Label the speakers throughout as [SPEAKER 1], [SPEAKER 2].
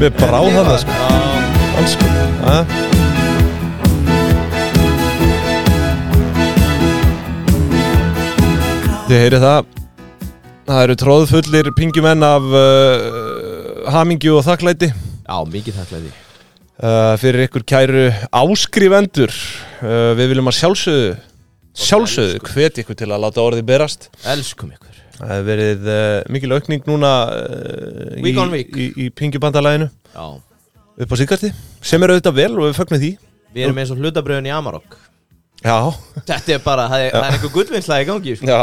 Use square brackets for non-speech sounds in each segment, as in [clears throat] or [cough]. [SPEAKER 1] Við bráðum það sko Alls sko Ha? Þið heyrið það Það eru tróðfullir pingjumenn af uh, hamingju og þakklæti
[SPEAKER 2] Já, mikið þakklæði
[SPEAKER 1] uh, fyrir ykkur kæru áskrifendur uh, Við viljum að sjálfsögðu sjálfsögðu hvet ykkur til að láta orðið berast
[SPEAKER 2] Elskum ykkur
[SPEAKER 1] Það hefur verið uh, mikil aukning núna uh,
[SPEAKER 2] Week
[SPEAKER 1] í,
[SPEAKER 2] on week.
[SPEAKER 1] í, í pingjubandalaginu
[SPEAKER 2] Já,
[SPEAKER 1] upp á síðkasti sem er auðvitað vel og við fögnum því
[SPEAKER 2] við erum eins og hlutabröðin í Amarok
[SPEAKER 1] Já,
[SPEAKER 2] Þetta er bara, það er, það er einhver gullvinnsla í gangi sko.
[SPEAKER 1] já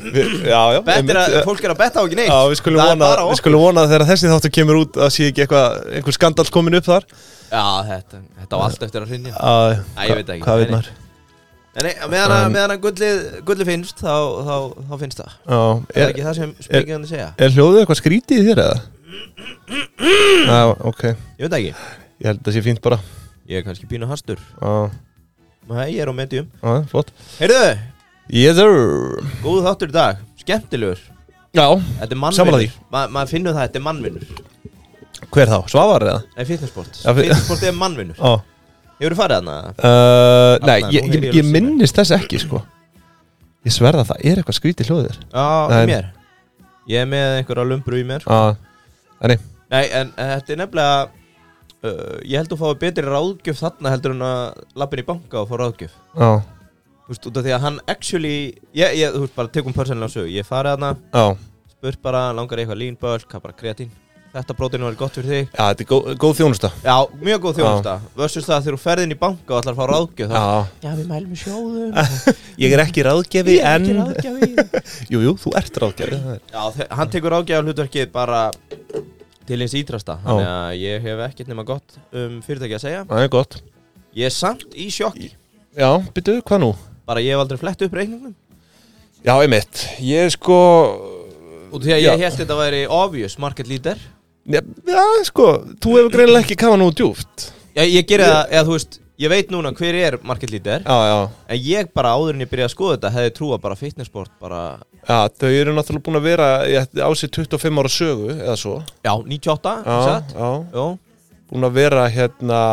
[SPEAKER 1] Við, já, já,
[SPEAKER 2] Bett er að,
[SPEAKER 1] einmitt.
[SPEAKER 2] fólk er að betta á ekki neitt
[SPEAKER 1] já, við skulum
[SPEAKER 2] Það er
[SPEAKER 1] vona,
[SPEAKER 2] bara
[SPEAKER 1] við
[SPEAKER 2] okkur.
[SPEAKER 1] skulum vona að þegar þessi þáttu kemur út að sé ekki eitthvað, einhver skandal komin upp þar
[SPEAKER 2] Já, þetta, þetta á allt eftir að hrinja
[SPEAKER 1] að,
[SPEAKER 2] Æ, ég veit ekki. Nei,
[SPEAKER 1] hvað veit maður
[SPEAKER 2] En nei, meðan að,
[SPEAKER 1] Um,
[SPEAKER 2] meðan að gullið, gullið finnst, þá, þá, þá finnst það
[SPEAKER 1] Já,
[SPEAKER 2] Það er
[SPEAKER 1] er,
[SPEAKER 2] ekki það sem spengjarnir segja
[SPEAKER 1] er hljóðið eitthvað skrítið í þér eða? Já, ok,
[SPEAKER 2] Ég veit það ekki
[SPEAKER 1] ég held að það sé fínt bara
[SPEAKER 2] Ég er kannski pínu hastur
[SPEAKER 1] Já,
[SPEAKER 2] Nei, ég er á medium
[SPEAKER 1] já, flott
[SPEAKER 2] Heyrðu,
[SPEAKER 1] Yes, sir
[SPEAKER 2] góð þáttur í dag Skemmtilegur
[SPEAKER 1] Já,
[SPEAKER 2] Þetta er
[SPEAKER 1] Sammála
[SPEAKER 2] mannvinnur
[SPEAKER 1] því.
[SPEAKER 2] Ma, Maður finnur það, þetta er mannvinnur
[SPEAKER 1] hver þá? Svavar eða?
[SPEAKER 2] Nei, fitnessport
[SPEAKER 1] Já, fi-
[SPEAKER 2] Fitnessport er mannvinnur
[SPEAKER 1] Já
[SPEAKER 2] Hefur þú farið þarna?
[SPEAKER 1] uh, Nei,
[SPEAKER 2] Þarna,
[SPEAKER 1] ég,
[SPEAKER 2] nú
[SPEAKER 1] ég,
[SPEAKER 2] heyri ég
[SPEAKER 1] ég
[SPEAKER 2] ljósið.
[SPEAKER 1] minnist þess ekki, sko Ég sverða það, er eitthvað skrítið hljóðið þér
[SPEAKER 2] Já,
[SPEAKER 1] Nei.
[SPEAKER 2] í mér Ég er með einhverja lumbru í mér
[SPEAKER 1] Já, nei,
[SPEAKER 2] Nei, en en þetta er nefnilega uh, Ég held að fá betri ráðgjöf þarna heldur en að lappin í banka og fá ráðgjöf
[SPEAKER 1] já,
[SPEAKER 2] Þú veist, út af því að hann actually ég, ég, Þú veist, bara tekum persónulega sög Ég farið þarna,
[SPEAKER 1] já
[SPEAKER 2] spurt bara, langar eitthvað línböld, hvað bara kreatín Þetta brótinu var gott fyrir þig
[SPEAKER 1] Já, þetta er góð, góð þjónusta
[SPEAKER 2] Já, mjög góð þjónusta Versus það að þegar þú ferðin í banka og ætlar að fá ráðgjöf þá,
[SPEAKER 1] Já,
[SPEAKER 2] Já, við mælum í sjóðum
[SPEAKER 1] [laughs] ég er ekki ráðgefi
[SPEAKER 2] Ég er ekki ráðgjafi.
[SPEAKER 1] [laughs] Jú, jú, þú ert ráðgefi það er-
[SPEAKER 2] Já, þe- hann tekur ágæða hlutverkið bara til eins ítrasta Þannig að ég hef ekkert nema gott um fyrirtæki að segja
[SPEAKER 1] Það er gott
[SPEAKER 2] Ég er samt í sjokki
[SPEAKER 1] Já, byrju, hvað nú?
[SPEAKER 2] Bara ég hef aldrei flett upp reikningnum
[SPEAKER 1] Já, einmitt Ég er sko
[SPEAKER 2] Og því að
[SPEAKER 1] Já.
[SPEAKER 2] ég held þetta væri obvious market leader
[SPEAKER 1] Já, já, sko, þú hefur greinilega ekki kafa nú djúft
[SPEAKER 2] Já, ég gerði það, eða þú veist, ég veit núna hver er market leader
[SPEAKER 1] Já, já
[SPEAKER 2] En ég bara áður en ég byrjaði að skoða þetta hefði trúa bara fitnessport bara
[SPEAKER 1] Já, þau eru náttúrulega búin að vera í- á sér 25 ára sögu eða svo
[SPEAKER 2] Já, 98,
[SPEAKER 1] Já,
[SPEAKER 2] ekki satt?
[SPEAKER 1] já
[SPEAKER 2] Jó,
[SPEAKER 1] Búin að vera hérna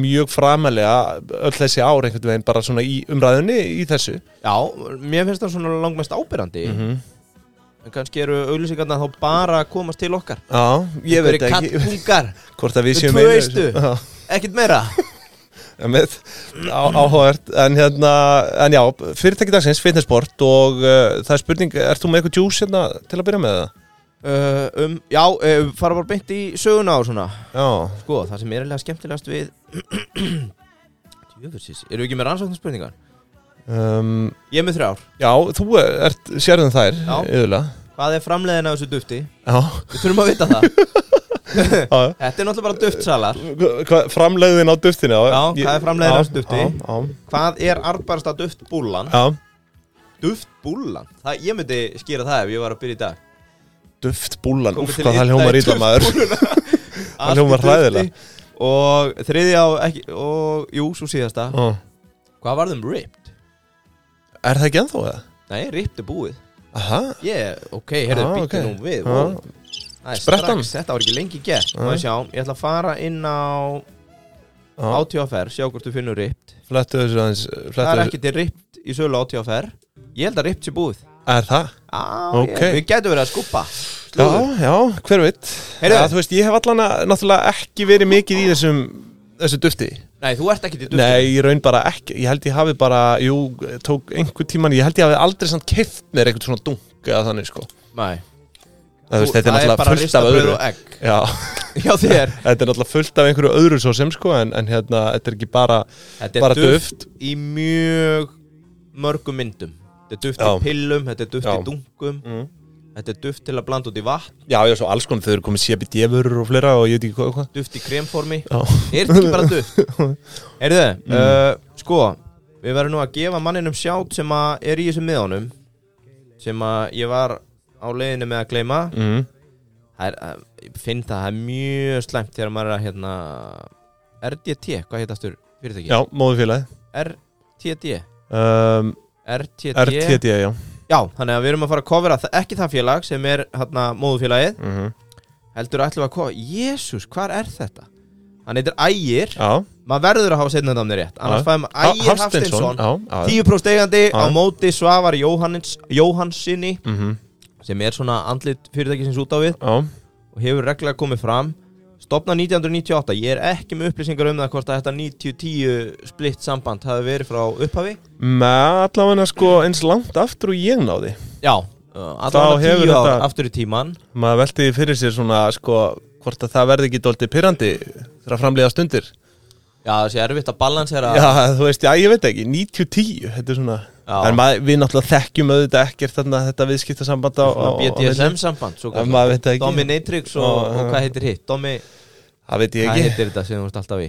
[SPEAKER 1] mjög framalega öll þessi ár einhvern veginn bara svona í umræðunni í þessu
[SPEAKER 2] já, mér finnst það svona langmest ábyrrandi
[SPEAKER 1] -hmm.
[SPEAKER 2] En kannski eru auglýsingarna þá bara að komast til okkar
[SPEAKER 1] Já, ég veit
[SPEAKER 2] Einhverjir
[SPEAKER 1] ekki [laughs]
[SPEAKER 2] kattpungar.
[SPEAKER 1] Hvort að við
[SPEAKER 2] Þau
[SPEAKER 1] séum
[SPEAKER 2] tvö
[SPEAKER 1] einu-
[SPEAKER 2] eistu.
[SPEAKER 1] Já.
[SPEAKER 2] Ekkert meira
[SPEAKER 1] Emmett, áhört en, hérna, en já, fyrirtæki dagsins fitnessport og uh, það er spurning ert þú með eitthvað juice hérna til að byrja með það?
[SPEAKER 2] Uh, um, já, uh, fara bara beint í söguna og svona
[SPEAKER 1] Já,
[SPEAKER 2] Sko, það sem er eiginlega skemmtilegast við [clears throat] Jöfusins, eru ekki með rannsóknarspurningar?
[SPEAKER 1] um,
[SPEAKER 2] Ég er með þrjár
[SPEAKER 1] já þú uh, ert sérðum þær
[SPEAKER 2] Já.
[SPEAKER 1] yfirlega
[SPEAKER 2] Hvað er framleiðin af þessu dufti? [laughs]
[SPEAKER 1] Já,
[SPEAKER 2] Við þurfum að vita
[SPEAKER 1] [laughs]
[SPEAKER 2] það
[SPEAKER 1] já
[SPEAKER 2] Þetta er náttúrulega bara duftsalar
[SPEAKER 1] Hva, framleiðin á duftinu
[SPEAKER 2] Já, hvað er framleiðin á þessu dufti?
[SPEAKER 1] Já,
[SPEAKER 2] Hvað er arbarasta duftbúlan?
[SPEAKER 1] já, já.
[SPEAKER 2] Duftbúlan? Það, ég myndi skýra það ef ég var að byrja í dag
[SPEAKER 1] duftbúlan,
[SPEAKER 2] Komið
[SPEAKER 1] úf,
[SPEAKER 2] til
[SPEAKER 1] hvað
[SPEAKER 2] illa
[SPEAKER 1] það
[SPEAKER 2] í
[SPEAKER 1] hljómar ítla
[SPEAKER 2] [laughs]
[SPEAKER 1] maður
[SPEAKER 2] Allt
[SPEAKER 1] hljómar
[SPEAKER 2] í dufti.
[SPEAKER 1] hræðilega.
[SPEAKER 2] Og þriðja og ekki Og jú, svo síðasta
[SPEAKER 1] Já.
[SPEAKER 2] Hvað var þeim ripped?
[SPEAKER 1] Er það ekki ennþá það?
[SPEAKER 2] Nei, ripped er búið
[SPEAKER 1] Aha,
[SPEAKER 2] Yeah, ok, heyrðu,
[SPEAKER 1] Ah,
[SPEAKER 2] ah,
[SPEAKER 1] ok.
[SPEAKER 2] nú við
[SPEAKER 1] Ah.
[SPEAKER 2] wow. Það er
[SPEAKER 1] Sprettan. Ah.
[SPEAKER 2] strax, Þetta var ekki lengi gert Má ég sjá, ég ætla að fara inn á
[SPEAKER 1] já,
[SPEAKER 2] ATFR Sjá hvort þú finnur ript
[SPEAKER 1] flettu þessu aðeins
[SPEAKER 2] Það er
[SPEAKER 1] flettu
[SPEAKER 2] ekki til ript í sölu ATFR Ég held að ript sé búið
[SPEAKER 1] Er það?
[SPEAKER 2] ah,
[SPEAKER 1] Ok.
[SPEAKER 2] ég, Við getum verið að skúpa
[SPEAKER 1] Já, já, hver veit
[SPEAKER 2] Heyrðu.
[SPEAKER 1] Já, Þú veist, ég hef allan að náttúrulega ekki verið mikið í þessum þessu dufti.
[SPEAKER 2] Nei, þú ert ekki til dufti
[SPEAKER 1] Nei, ég raun bara ekki Ég held ég hafi bara, jú, tók einhver tíman Ég held ég hafi aldrei samt keift mér einhvern svona dunk eða þannig, sko
[SPEAKER 2] Nei.
[SPEAKER 1] Það, þú veist,
[SPEAKER 2] Þú- það
[SPEAKER 1] þetta er
[SPEAKER 2] er
[SPEAKER 1] náttúrulega
[SPEAKER 2] bara
[SPEAKER 1] fullt af
[SPEAKER 2] ristabrauð
[SPEAKER 1] öðru
[SPEAKER 2] og egg [laughs]
[SPEAKER 1] Já, [laughs]
[SPEAKER 2] Já þér
[SPEAKER 1] þetta er náttúrulega fullt af einhverju öðru svo sem, sko En, en hérna, þetta er ekki bara
[SPEAKER 2] Þetta er
[SPEAKER 1] Bara
[SPEAKER 2] duft í mjög mörgum myndum Þetta er duft
[SPEAKER 1] Já.
[SPEAKER 2] í pillum, þetta er duft
[SPEAKER 1] Já.
[SPEAKER 2] í dunkum Þetta er duft til að blanda út í vatn
[SPEAKER 1] Já, já, svo alls konar, þau eru komið CBD-vörur og fleira Og ég veit ekki hvað, hvað
[SPEAKER 2] Duft í kremformi
[SPEAKER 1] Já, Mm.
[SPEAKER 2] Er þetta ekki bara
[SPEAKER 1] [laughs]
[SPEAKER 2] dutt? Heyrðu, uh, sko Við verðum nú að gefa manninum sjátt sem að er í þessum miðanum sem að ég var á leiðinu með að gleyma
[SPEAKER 1] mm.
[SPEAKER 2] Það er, að, ég finn það, það er mjög slæmt þegar maður er að hérna RDT, hvað heitastur fyrirtæki?
[SPEAKER 1] já móðufélagi
[SPEAKER 2] RTD
[SPEAKER 1] um,
[SPEAKER 2] RTD,
[SPEAKER 1] RTD, já
[SPEAKER 2] Já, þannig að við erum að fara að kofra ekki það félag sem er hérna móðufélagið
[SPEAKER 1] mm -hmm.
[SPEAKER 2] heldur ætlum við að koma Jésús, hvar er þetta? Hann heitir Ægir
[SPEAKER 1] Já,
[SPEAKER 2] maður verður að hafa setna þetta um þér rétt annars
[SPEAKER 1] Já.
[SPEAKER 2] fæðum
[SPEAKER 1] Ha-
[SPEAKER 2] Ægir Hafstinsson
[SPEAKER 1] Já, já
[SPEAKER 2] 10% eigandi
[SPEAKER 1] Já.
[SPEAKER 2] á móti Svavar Jóhanns, Jóhannsini
[SPEAKER 1] mhm,
[SPEAKER 2] sem er svona andlit fyrirtækisins út á við
[SPEAKER 1] Já,
[SPEAKER 2] og hefur reglulega komið fram stopna 1998, ég er ekki með upplýsingar um það hvort að þetta 90-10 splitt samband hafi verið frá upphafi
[SPEAKER 1] með allavega sko eins langt aftur og ég náði
[SPEAKER 2] já, uh,
[SPEAKER 1] Þá
[SPEAKER 2] allavega
[SPEAKER 1] hefur
[SPEAKER 2] 10 ár
[SPEAKER 1] þetta-
[SPEAKER 2] aftur í tíman
[SPEAKER 1] Maður velti því fyrir sér svona sko hvort að það verði ekki dóltið pyrrandi þegar að framlega stundir
[SPEAKER 2] já, þessi erfitt að balansera
[SPEAKER 1] Já, þú veist, já, ég veit ekki, 90-10 Þetta er svona,
[SPEAKER 2] Já.
[SPEAKER 1] en maður, við náttúrulega þekkjum auðvitað ekkert þarna þetta viðskiptasamband á, á, á,
[SPEAKER 2] svona
[SPEAKER 1] á-
[SPEAKER 2] BDSM samband svo
[SPEAKER 1] Já,
[SPEAKER 2] kallað.
[SPEAKER 1] maður veit það ekki.
[SPEAKER 2] Dominatrix og,
[SPEAKER 1] Já, já.
[SPEAKER 2] og hvað heitir hitt Domi,
[SPEAKER 1] Það veit ég
[SPEAKER 2] hvað
[SPEAKER 1] ekki
[SPEAKER 2] heitir þetta sem þú ert alltaf í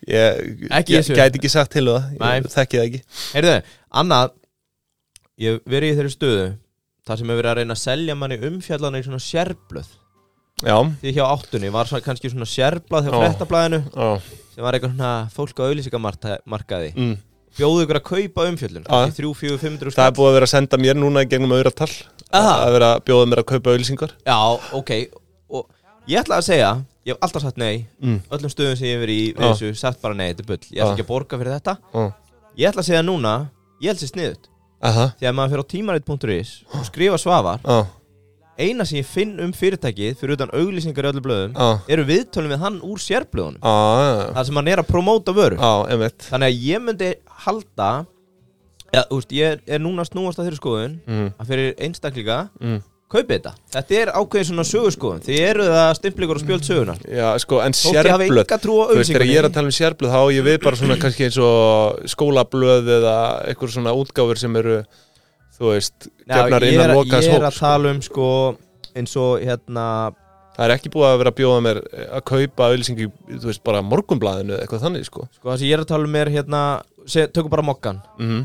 [SPEAKER 1] Ég,
[SPEAKER 2] Ekki
[SPEAKER 1] ég
[SPEAKER 2] þessu.
[SPEAKER 1] gæti ekki sagt til um það,
[SPEAKER 2] Nei.
[SPEAKER 1] ég þekki það ekki
[SPEAKER 2] Heyrðu, annað Ég hef verið í þeirri stöðu þar sem hefur verið að reyna að selja manni umfjallanir í svona sérblöð
[SPEAKER 1] Já,
[SPEAKER 2] Því hjá áttunni var svona, kannski svona sérblað hjá
[SPEAKER 1] Ó.
[SPEAKER 2] frettablaðinu
[SPEAKER 1] já,
[SPEAKER 2] sem var eitthvað svona fólk á auðlýsingamarkaði
[SPEAKER 1] mm.
[SPEAKER 2] Bjóðu ykkur að kaupa umfjöllun
[SPEAKER 1] Já.
[SPEAKER 2] kannski 3, 4, 500
[SPEAKER 1] það er búið að vera að senda mér núna í gegnum auðratal
[SPEAKER 2] Aha.
[SPEAKER 1] að vera að bjóða mér að kaupa auðlýsingar
[SPEAKER 2] Já, ok Og ég ætla að segja, ég hef alltaf sagt nei
[SPEAKER 1] Mm.
[SPEAKER 2] öllum stöðum sem ég hef verið í við
[SPEAKER 1] Já.
[SPEAKER 2] þessu, sagt bara nei, þetta er bull Ég ætla
[SPEAKER 1] Já.
[SPEAKER 2] ekki að borga fyrir þetta
[SPEAKER 1] Já.
[SPEAKER 2] Ég ætla að segja núna, ég held sér sniðut
[SPEAKER 1] Aha,
[SPEAKER 2] Því að maður fyrir á tímarit.is og skrifa svafar
[SPEAKER 1] já,
[SPEAKER 2] eina sem ég finn um fyrirtækið fyrir utan auglýsingar í öllu blöðum
[SPEAKER 1] já
[SPEAKER 2] eru viðtölum við hann úr sérblöðunum
[SPEAKER 1] Já,
[SPEAKER 2] þar sem hann er að promóta vöru
[SPEAKER 1] Ah, já, emitt
[SPEAKER 2] þannig að ég myndi halda ja, úst, ég er, er núna að snúast að þeirri skoðun
[SPEAKER 1] mm.
[SPEAKER 2] að fyrir einstaklinga
[SPEAKER 1] Mm.
[SPEAKER 2] kaupið þetta, þetta er ákveðin svona sögurskoðun þið eru það stimplingur og spjöld sögunar
[SPEAKER 1] Já, sko, en
[SPEAKER 2] þótt ég hafi
[SPEAKER 1] sérblöð
[SPEAKER 2] enga trú á
[SPEAKER 1] Þú veist, þegar ég er að
[SPEAKER 2] auglýsingar
[SPEAKER 1] tala um sérblöð þá á ég við bara
[SPEAKER 2] [clears throat]
[SPEAKER 1] svona kannski eins og skólablöð eða eitthvað svona útgáfur sem eru þú veist,
[SPEAKER 2] ég
[SPEAKER 1] gefnar
[SPEAKER 2] er
[SPEAKER 1] innan
[SPEAKER 2] að-
[SPEAKER 1] lokaðs
[SPEAKER 2] ég er
[SPEAKER 1] hóp
[SPEAKER 2] að tala um sko eins og hérna
[SPEAKER 1] Það er ekki búið að vera að bjóða mér að kaupa auðlýsingu, í, þú veist, bara morgunblæðinu eða eitthvað þannig, sko
[SPEAKER 2] sko það sem ég er að tala um er hérna se, tökum bara mokkan,
[SPEAKER 1] mm.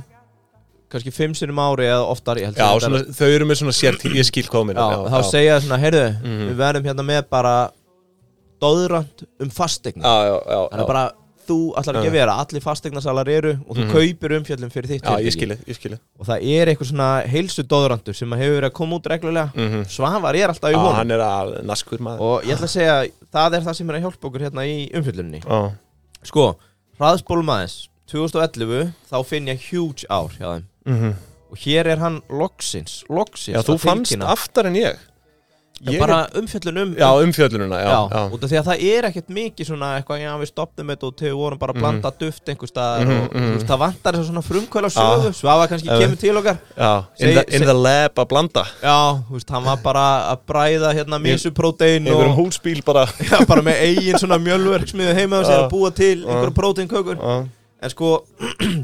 [SPEAKER 2] kannski fimm sinum ári eða oftar ég held
[SPEAKER 1] Já,
[SPEAKER 2] að þetta-
[SPEAKER 1] svona, þau eru með svona sértík, ég skil hvað minna
[SPEAKER 2] já, þá
[SPEAKER 1] já,
[SPEAKER 2] segja þau svona, heyrðu,
[SPEAKER 1] Mhm.
[SPEAKER 2] við verðum hérna með bara dóðrand um fasteigna
[SPEAKER 1] já, já, já,
[SPEAKER 2] þannig
[SPEAKER 1] já,
[SPEAKER 2] bara, þú ætlar ekki að vera allir fasteignasalar eru og þú
[SPEAKER 1] Mhm.
[SPEAKER 2] kaupir umfjöllum fyrir þitt
[SPEAKER 1] já, ég
[SPEAKER 2] fyrirtæki.
[SPEAKER 1] skil þig, ég skil þig
[SPEAKER 2] og það er eitthvað svona heilsu dóðrandur sem hefur verið að koma út reglulega
[SPEAKER 1] mm -hmm.
[SPEAKER 2] Svavar er alltaf í
[SPEAKER 1] Já,
[SPEAKER 2] honum
[SPEAKER 1] hann er að naskur maður
[SPEAKER 2] og ég ætla að segja, það er það sem er að hjálpa okkur hérna í umfjöllunni
[SPEAKER 1] Já,
[SPEAKER 2] sko, hraðspólum aðeins 2011, þá finn ég huge ár hjá þeim
[SPEAKER 1] mhm
[SPEAKER 2] og hér er hann loksins, loksins
[SPEAKER 1] Já, þú
[SPEAKER 2] að
[SPEAKER 1] fannst
[SPEAKER 2] tilkynna.
[SPEAKER 1] aftar en ég
[SPEAKER 2] Já, bara umfjöllun um
[SPEAKER 1] Já, umfjöllununa, já,
[SPEAKER 2] já,
[SPEAKER 1] já.
[SPEAKER 2] út af því að það er ekkert mikið svona eitthvað, já við stoppum þetta og þegar við vorum bara að blanda duft einhver staðar
[SPEAKER 1] Mhm,
[SPEAKER 2] og
[SPEAKER 1] mhm. Ah.
[SPEAKER 2] þú veist, það vantar þess að svona frumkvæla sögu Svafa kannski
[SPEAKER 1] Ef-
[SPEAKER 2] kemur til okkar
[SPEAKER 1] Já, in,
[SPEAKER 2] Seg-
[SPEAKER 1] the, in
[SPEAKER 2] seg-
[SPEAKER 1] the lab að blanda
[SPEAKER 2] já, þú veist, hann var bara að bræða hérna misuprótein
[SPEAKER 1] einhverjum
[SPEAKER 2] og
[SPEAKER 1] húsbíl bara
[SPEAKER 2] já, bara með eigin svona mjölverksmiðu heima og sér
[SPEAKER 1] Já.
[SPEAKER 2] að búa til
[SPEAKER 1] Ah.
[SPEAKER 2] einhverjum próteinkökur
[SPEAKER 1] Já,
[SPEAKER 2] en sko,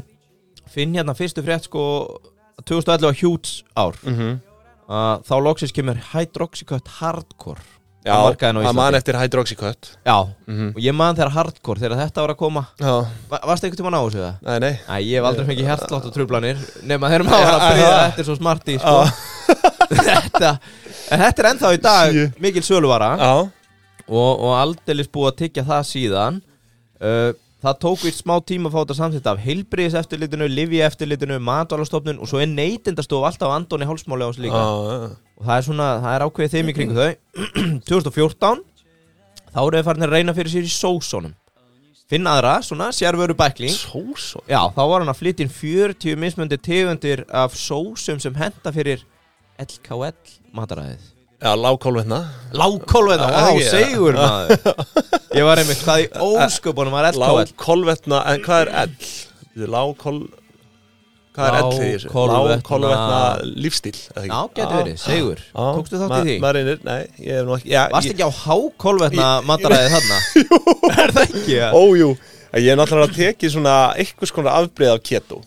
[SPEAKER 2] [clears throat] finn hérna fyrstu frétt sko 2011 hjúts ár
[SPEAKER 1] mhm.
[SPEAKER 2] uh, þá loksins kemur Hydroxycut Hardcore
[SPEAKER 1] já
[SPEAKER 2] á markaðinn á
[SPEAKER 1] að man
[SPEAKER 2] Íslandi.
[SPEAKER 1] eftir hydroxycut
[SPEAKER 2] já,
[SPEAKER 1] Mhm.
[SPEAKER 2] og ég man þegar Hardcore þegar þetta var að koma
[SPEAKER 1] Já,
[SPEAKER 2] Va- Varst einhvern tímann á þessu það?
[SPEAKER 1] nei, nei
[SPEAKER 2] Æ, ég hef aldrei fengið hjartlátt og trublanir Nefna þeir maður að
[SPEAKER 1] Já,
[SPEAKER 2] bríða
[SPEAKER 1] já.
[SPEAKER 2] Þetta er svo smart í sko. [laughs] þetta, en þetta er ennþá í dag
[SPEAKER 1] Sí.
[SPEAKER 2] Mikil söluvara og,
[SPEAKER 1] Já,
[SPEAKER 2] og aldeilis búið að tyggja það síðan uh, Það tók við smá tíma að fá þetta samþýtt af heilbriðis eftirlitinu, lifi eftirlitinu, matvælastofnun og svo er neytindastof alltaf Andóni hálsmáli á þessu
[SPEAKER 1] já,
[SPEAKER 2] líka
[SPEAKER 1] já.
[SPEAKER 2] og það er svona, það er ákveðið þeim í kringu þau [clears throat] 2014 þá eru þau farin að reyna fyrir sér í sósónum finna aðra, svona, sérvöru bækling
[SPEAKER 1] Sósó
[SPEAKER 2] Já, þá var hann að flytja inn 40 mismöndi tegundir af sósum sem henda fyrir LKL mataræðið.
[SPEAKER 1] Já, lágkólvetna
[SPEAKER 2] Lákólveða,
[SPEAKER 1] Ah,
[SPEAKER 2] vá,
[SPEAKER 1] yeah.
[SPEAKER 2] segur maður. [laughs] Ég var einmitt, hvað í ósköpunum var LKL?
[SPEAKER 1] Lágkólvetna, en hvað er ell? Lágkól Hvað er ell í þessu?
[SPEAKER 2] Lágkolvetna-
[SPEAKER 1] Lágkólvetna lífstíl eða ekki?
[SPEAKER 2] Já, getur
[SPEAKER 1] Já.
[SPEAKER 2] verið, segur.
[SPEAKER 1] Já.
[SPEAKER 2] Tókstu þátt
[SPEAKER 1] Ah, Ma-
[SPEAKER 2] í því?
[SPEAKER 1] Maður reynir, nei, ég hef nú ekki já,
[SPEAKER 2] Varst
[SPEAKER 1] ég-
[SPEAKER 2] ekki á hákólveðna
[SPEAKER 1] [laughs]
[SPEAKER 2] mataræðið þarna? Jú. Er það ekki? ja?
[SPEAKER 1] Ójú, ég hef náttúrulega tekið svona einhvers konar afbreið af keto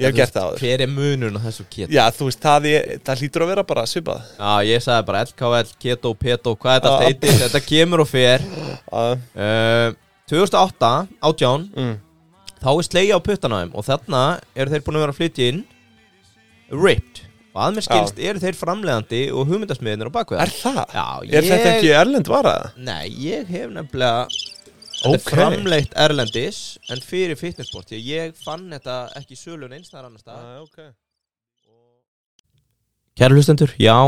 [SPEAKER 1] Ég hef gert það áður
[SPEAKER 2] Hver er munun á þessu keto?
[SPEAKER 1] Já, þú veist, það, er, það hlýtur að vera bara svipað
[SPEAKER 2] Já, ég sagði bara LKL, keto, peto, hvað þetta
[SPEAKER 1] Ah.
[SPEAKER 2] allt heitir, þetta kemur og fer.
[SPEAKER 1] uh,
[SPEAKER 2] Uh, 2008, átján,
[SPEAKER 1] mm.
[SPEAKER 2] þá er slegja á puttana á þeim og þarna eru þeir búin að vera að flytja inn Ripped og að mér skilst eru þeir framlegandi og hugmyndasmiðinir á bakveða
[SPEAKER 1] Er það?
[SPEAKER 2] Já,
[SPEAKER 1] Er
[SPEAKER 2] ég-
[SPEAKER 1] þetta ekki erlend vara?
[SPEAKER 2] Nei, ég hef nefnilega Þetta er
[SPEAKER 1] Ok.
[SPEAKER 2] framleitt erlendis en fyrir fitnessport því að ég fann þetta ekki í sölun einstakar annars stað
[SPEAKER 1] Ah, okay.
[SPEAKER 2] Kæra hlustendur, já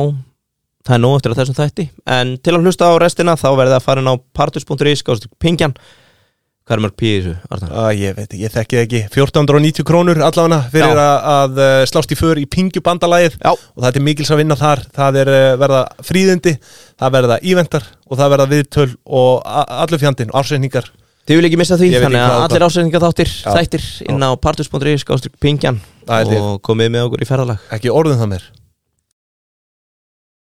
[SPEAKER 2] það er nóg eftir að þessum þætti en til að hlusta á restina þá verðið að fara inn á partus.is, gáðast pingjan hvað er mörg píð í þessu, Arnar?
[SPEAKER 1] Ah, ég veit ekki, ég þekki það ekki 1490 krónur allavega fyrir
[SPEAKER 2] Já.
[SPEAKER 1] að, að eh, slást í för í pingjubandalagið
[SPEAKER 2] Já.
[SPEAKER 1] og það er til mikils að vinna þar það er eh, verða fríðindi, það verða íventar og það verða viðtöl og a- allur fjandinn, ársreikningar
[SPEAKER 2] Þið vil ekki missa því,
[SPEAKER 1] Ég veit ekki
[SPEAKER 2] þannig að
[SPEAKER 1] hvað-
[SPEAKER 2] allir ásendinga þáttir
[SPEAKER 1] Já.
[SPEAKER 2] þættir inn á partus.is, gáðast pingjan
[SPEAKER 1] Það er til.
[SPEAKER 2] og komið með okkur í ferðalag
[SPEAKER 1] ekki orðum það mér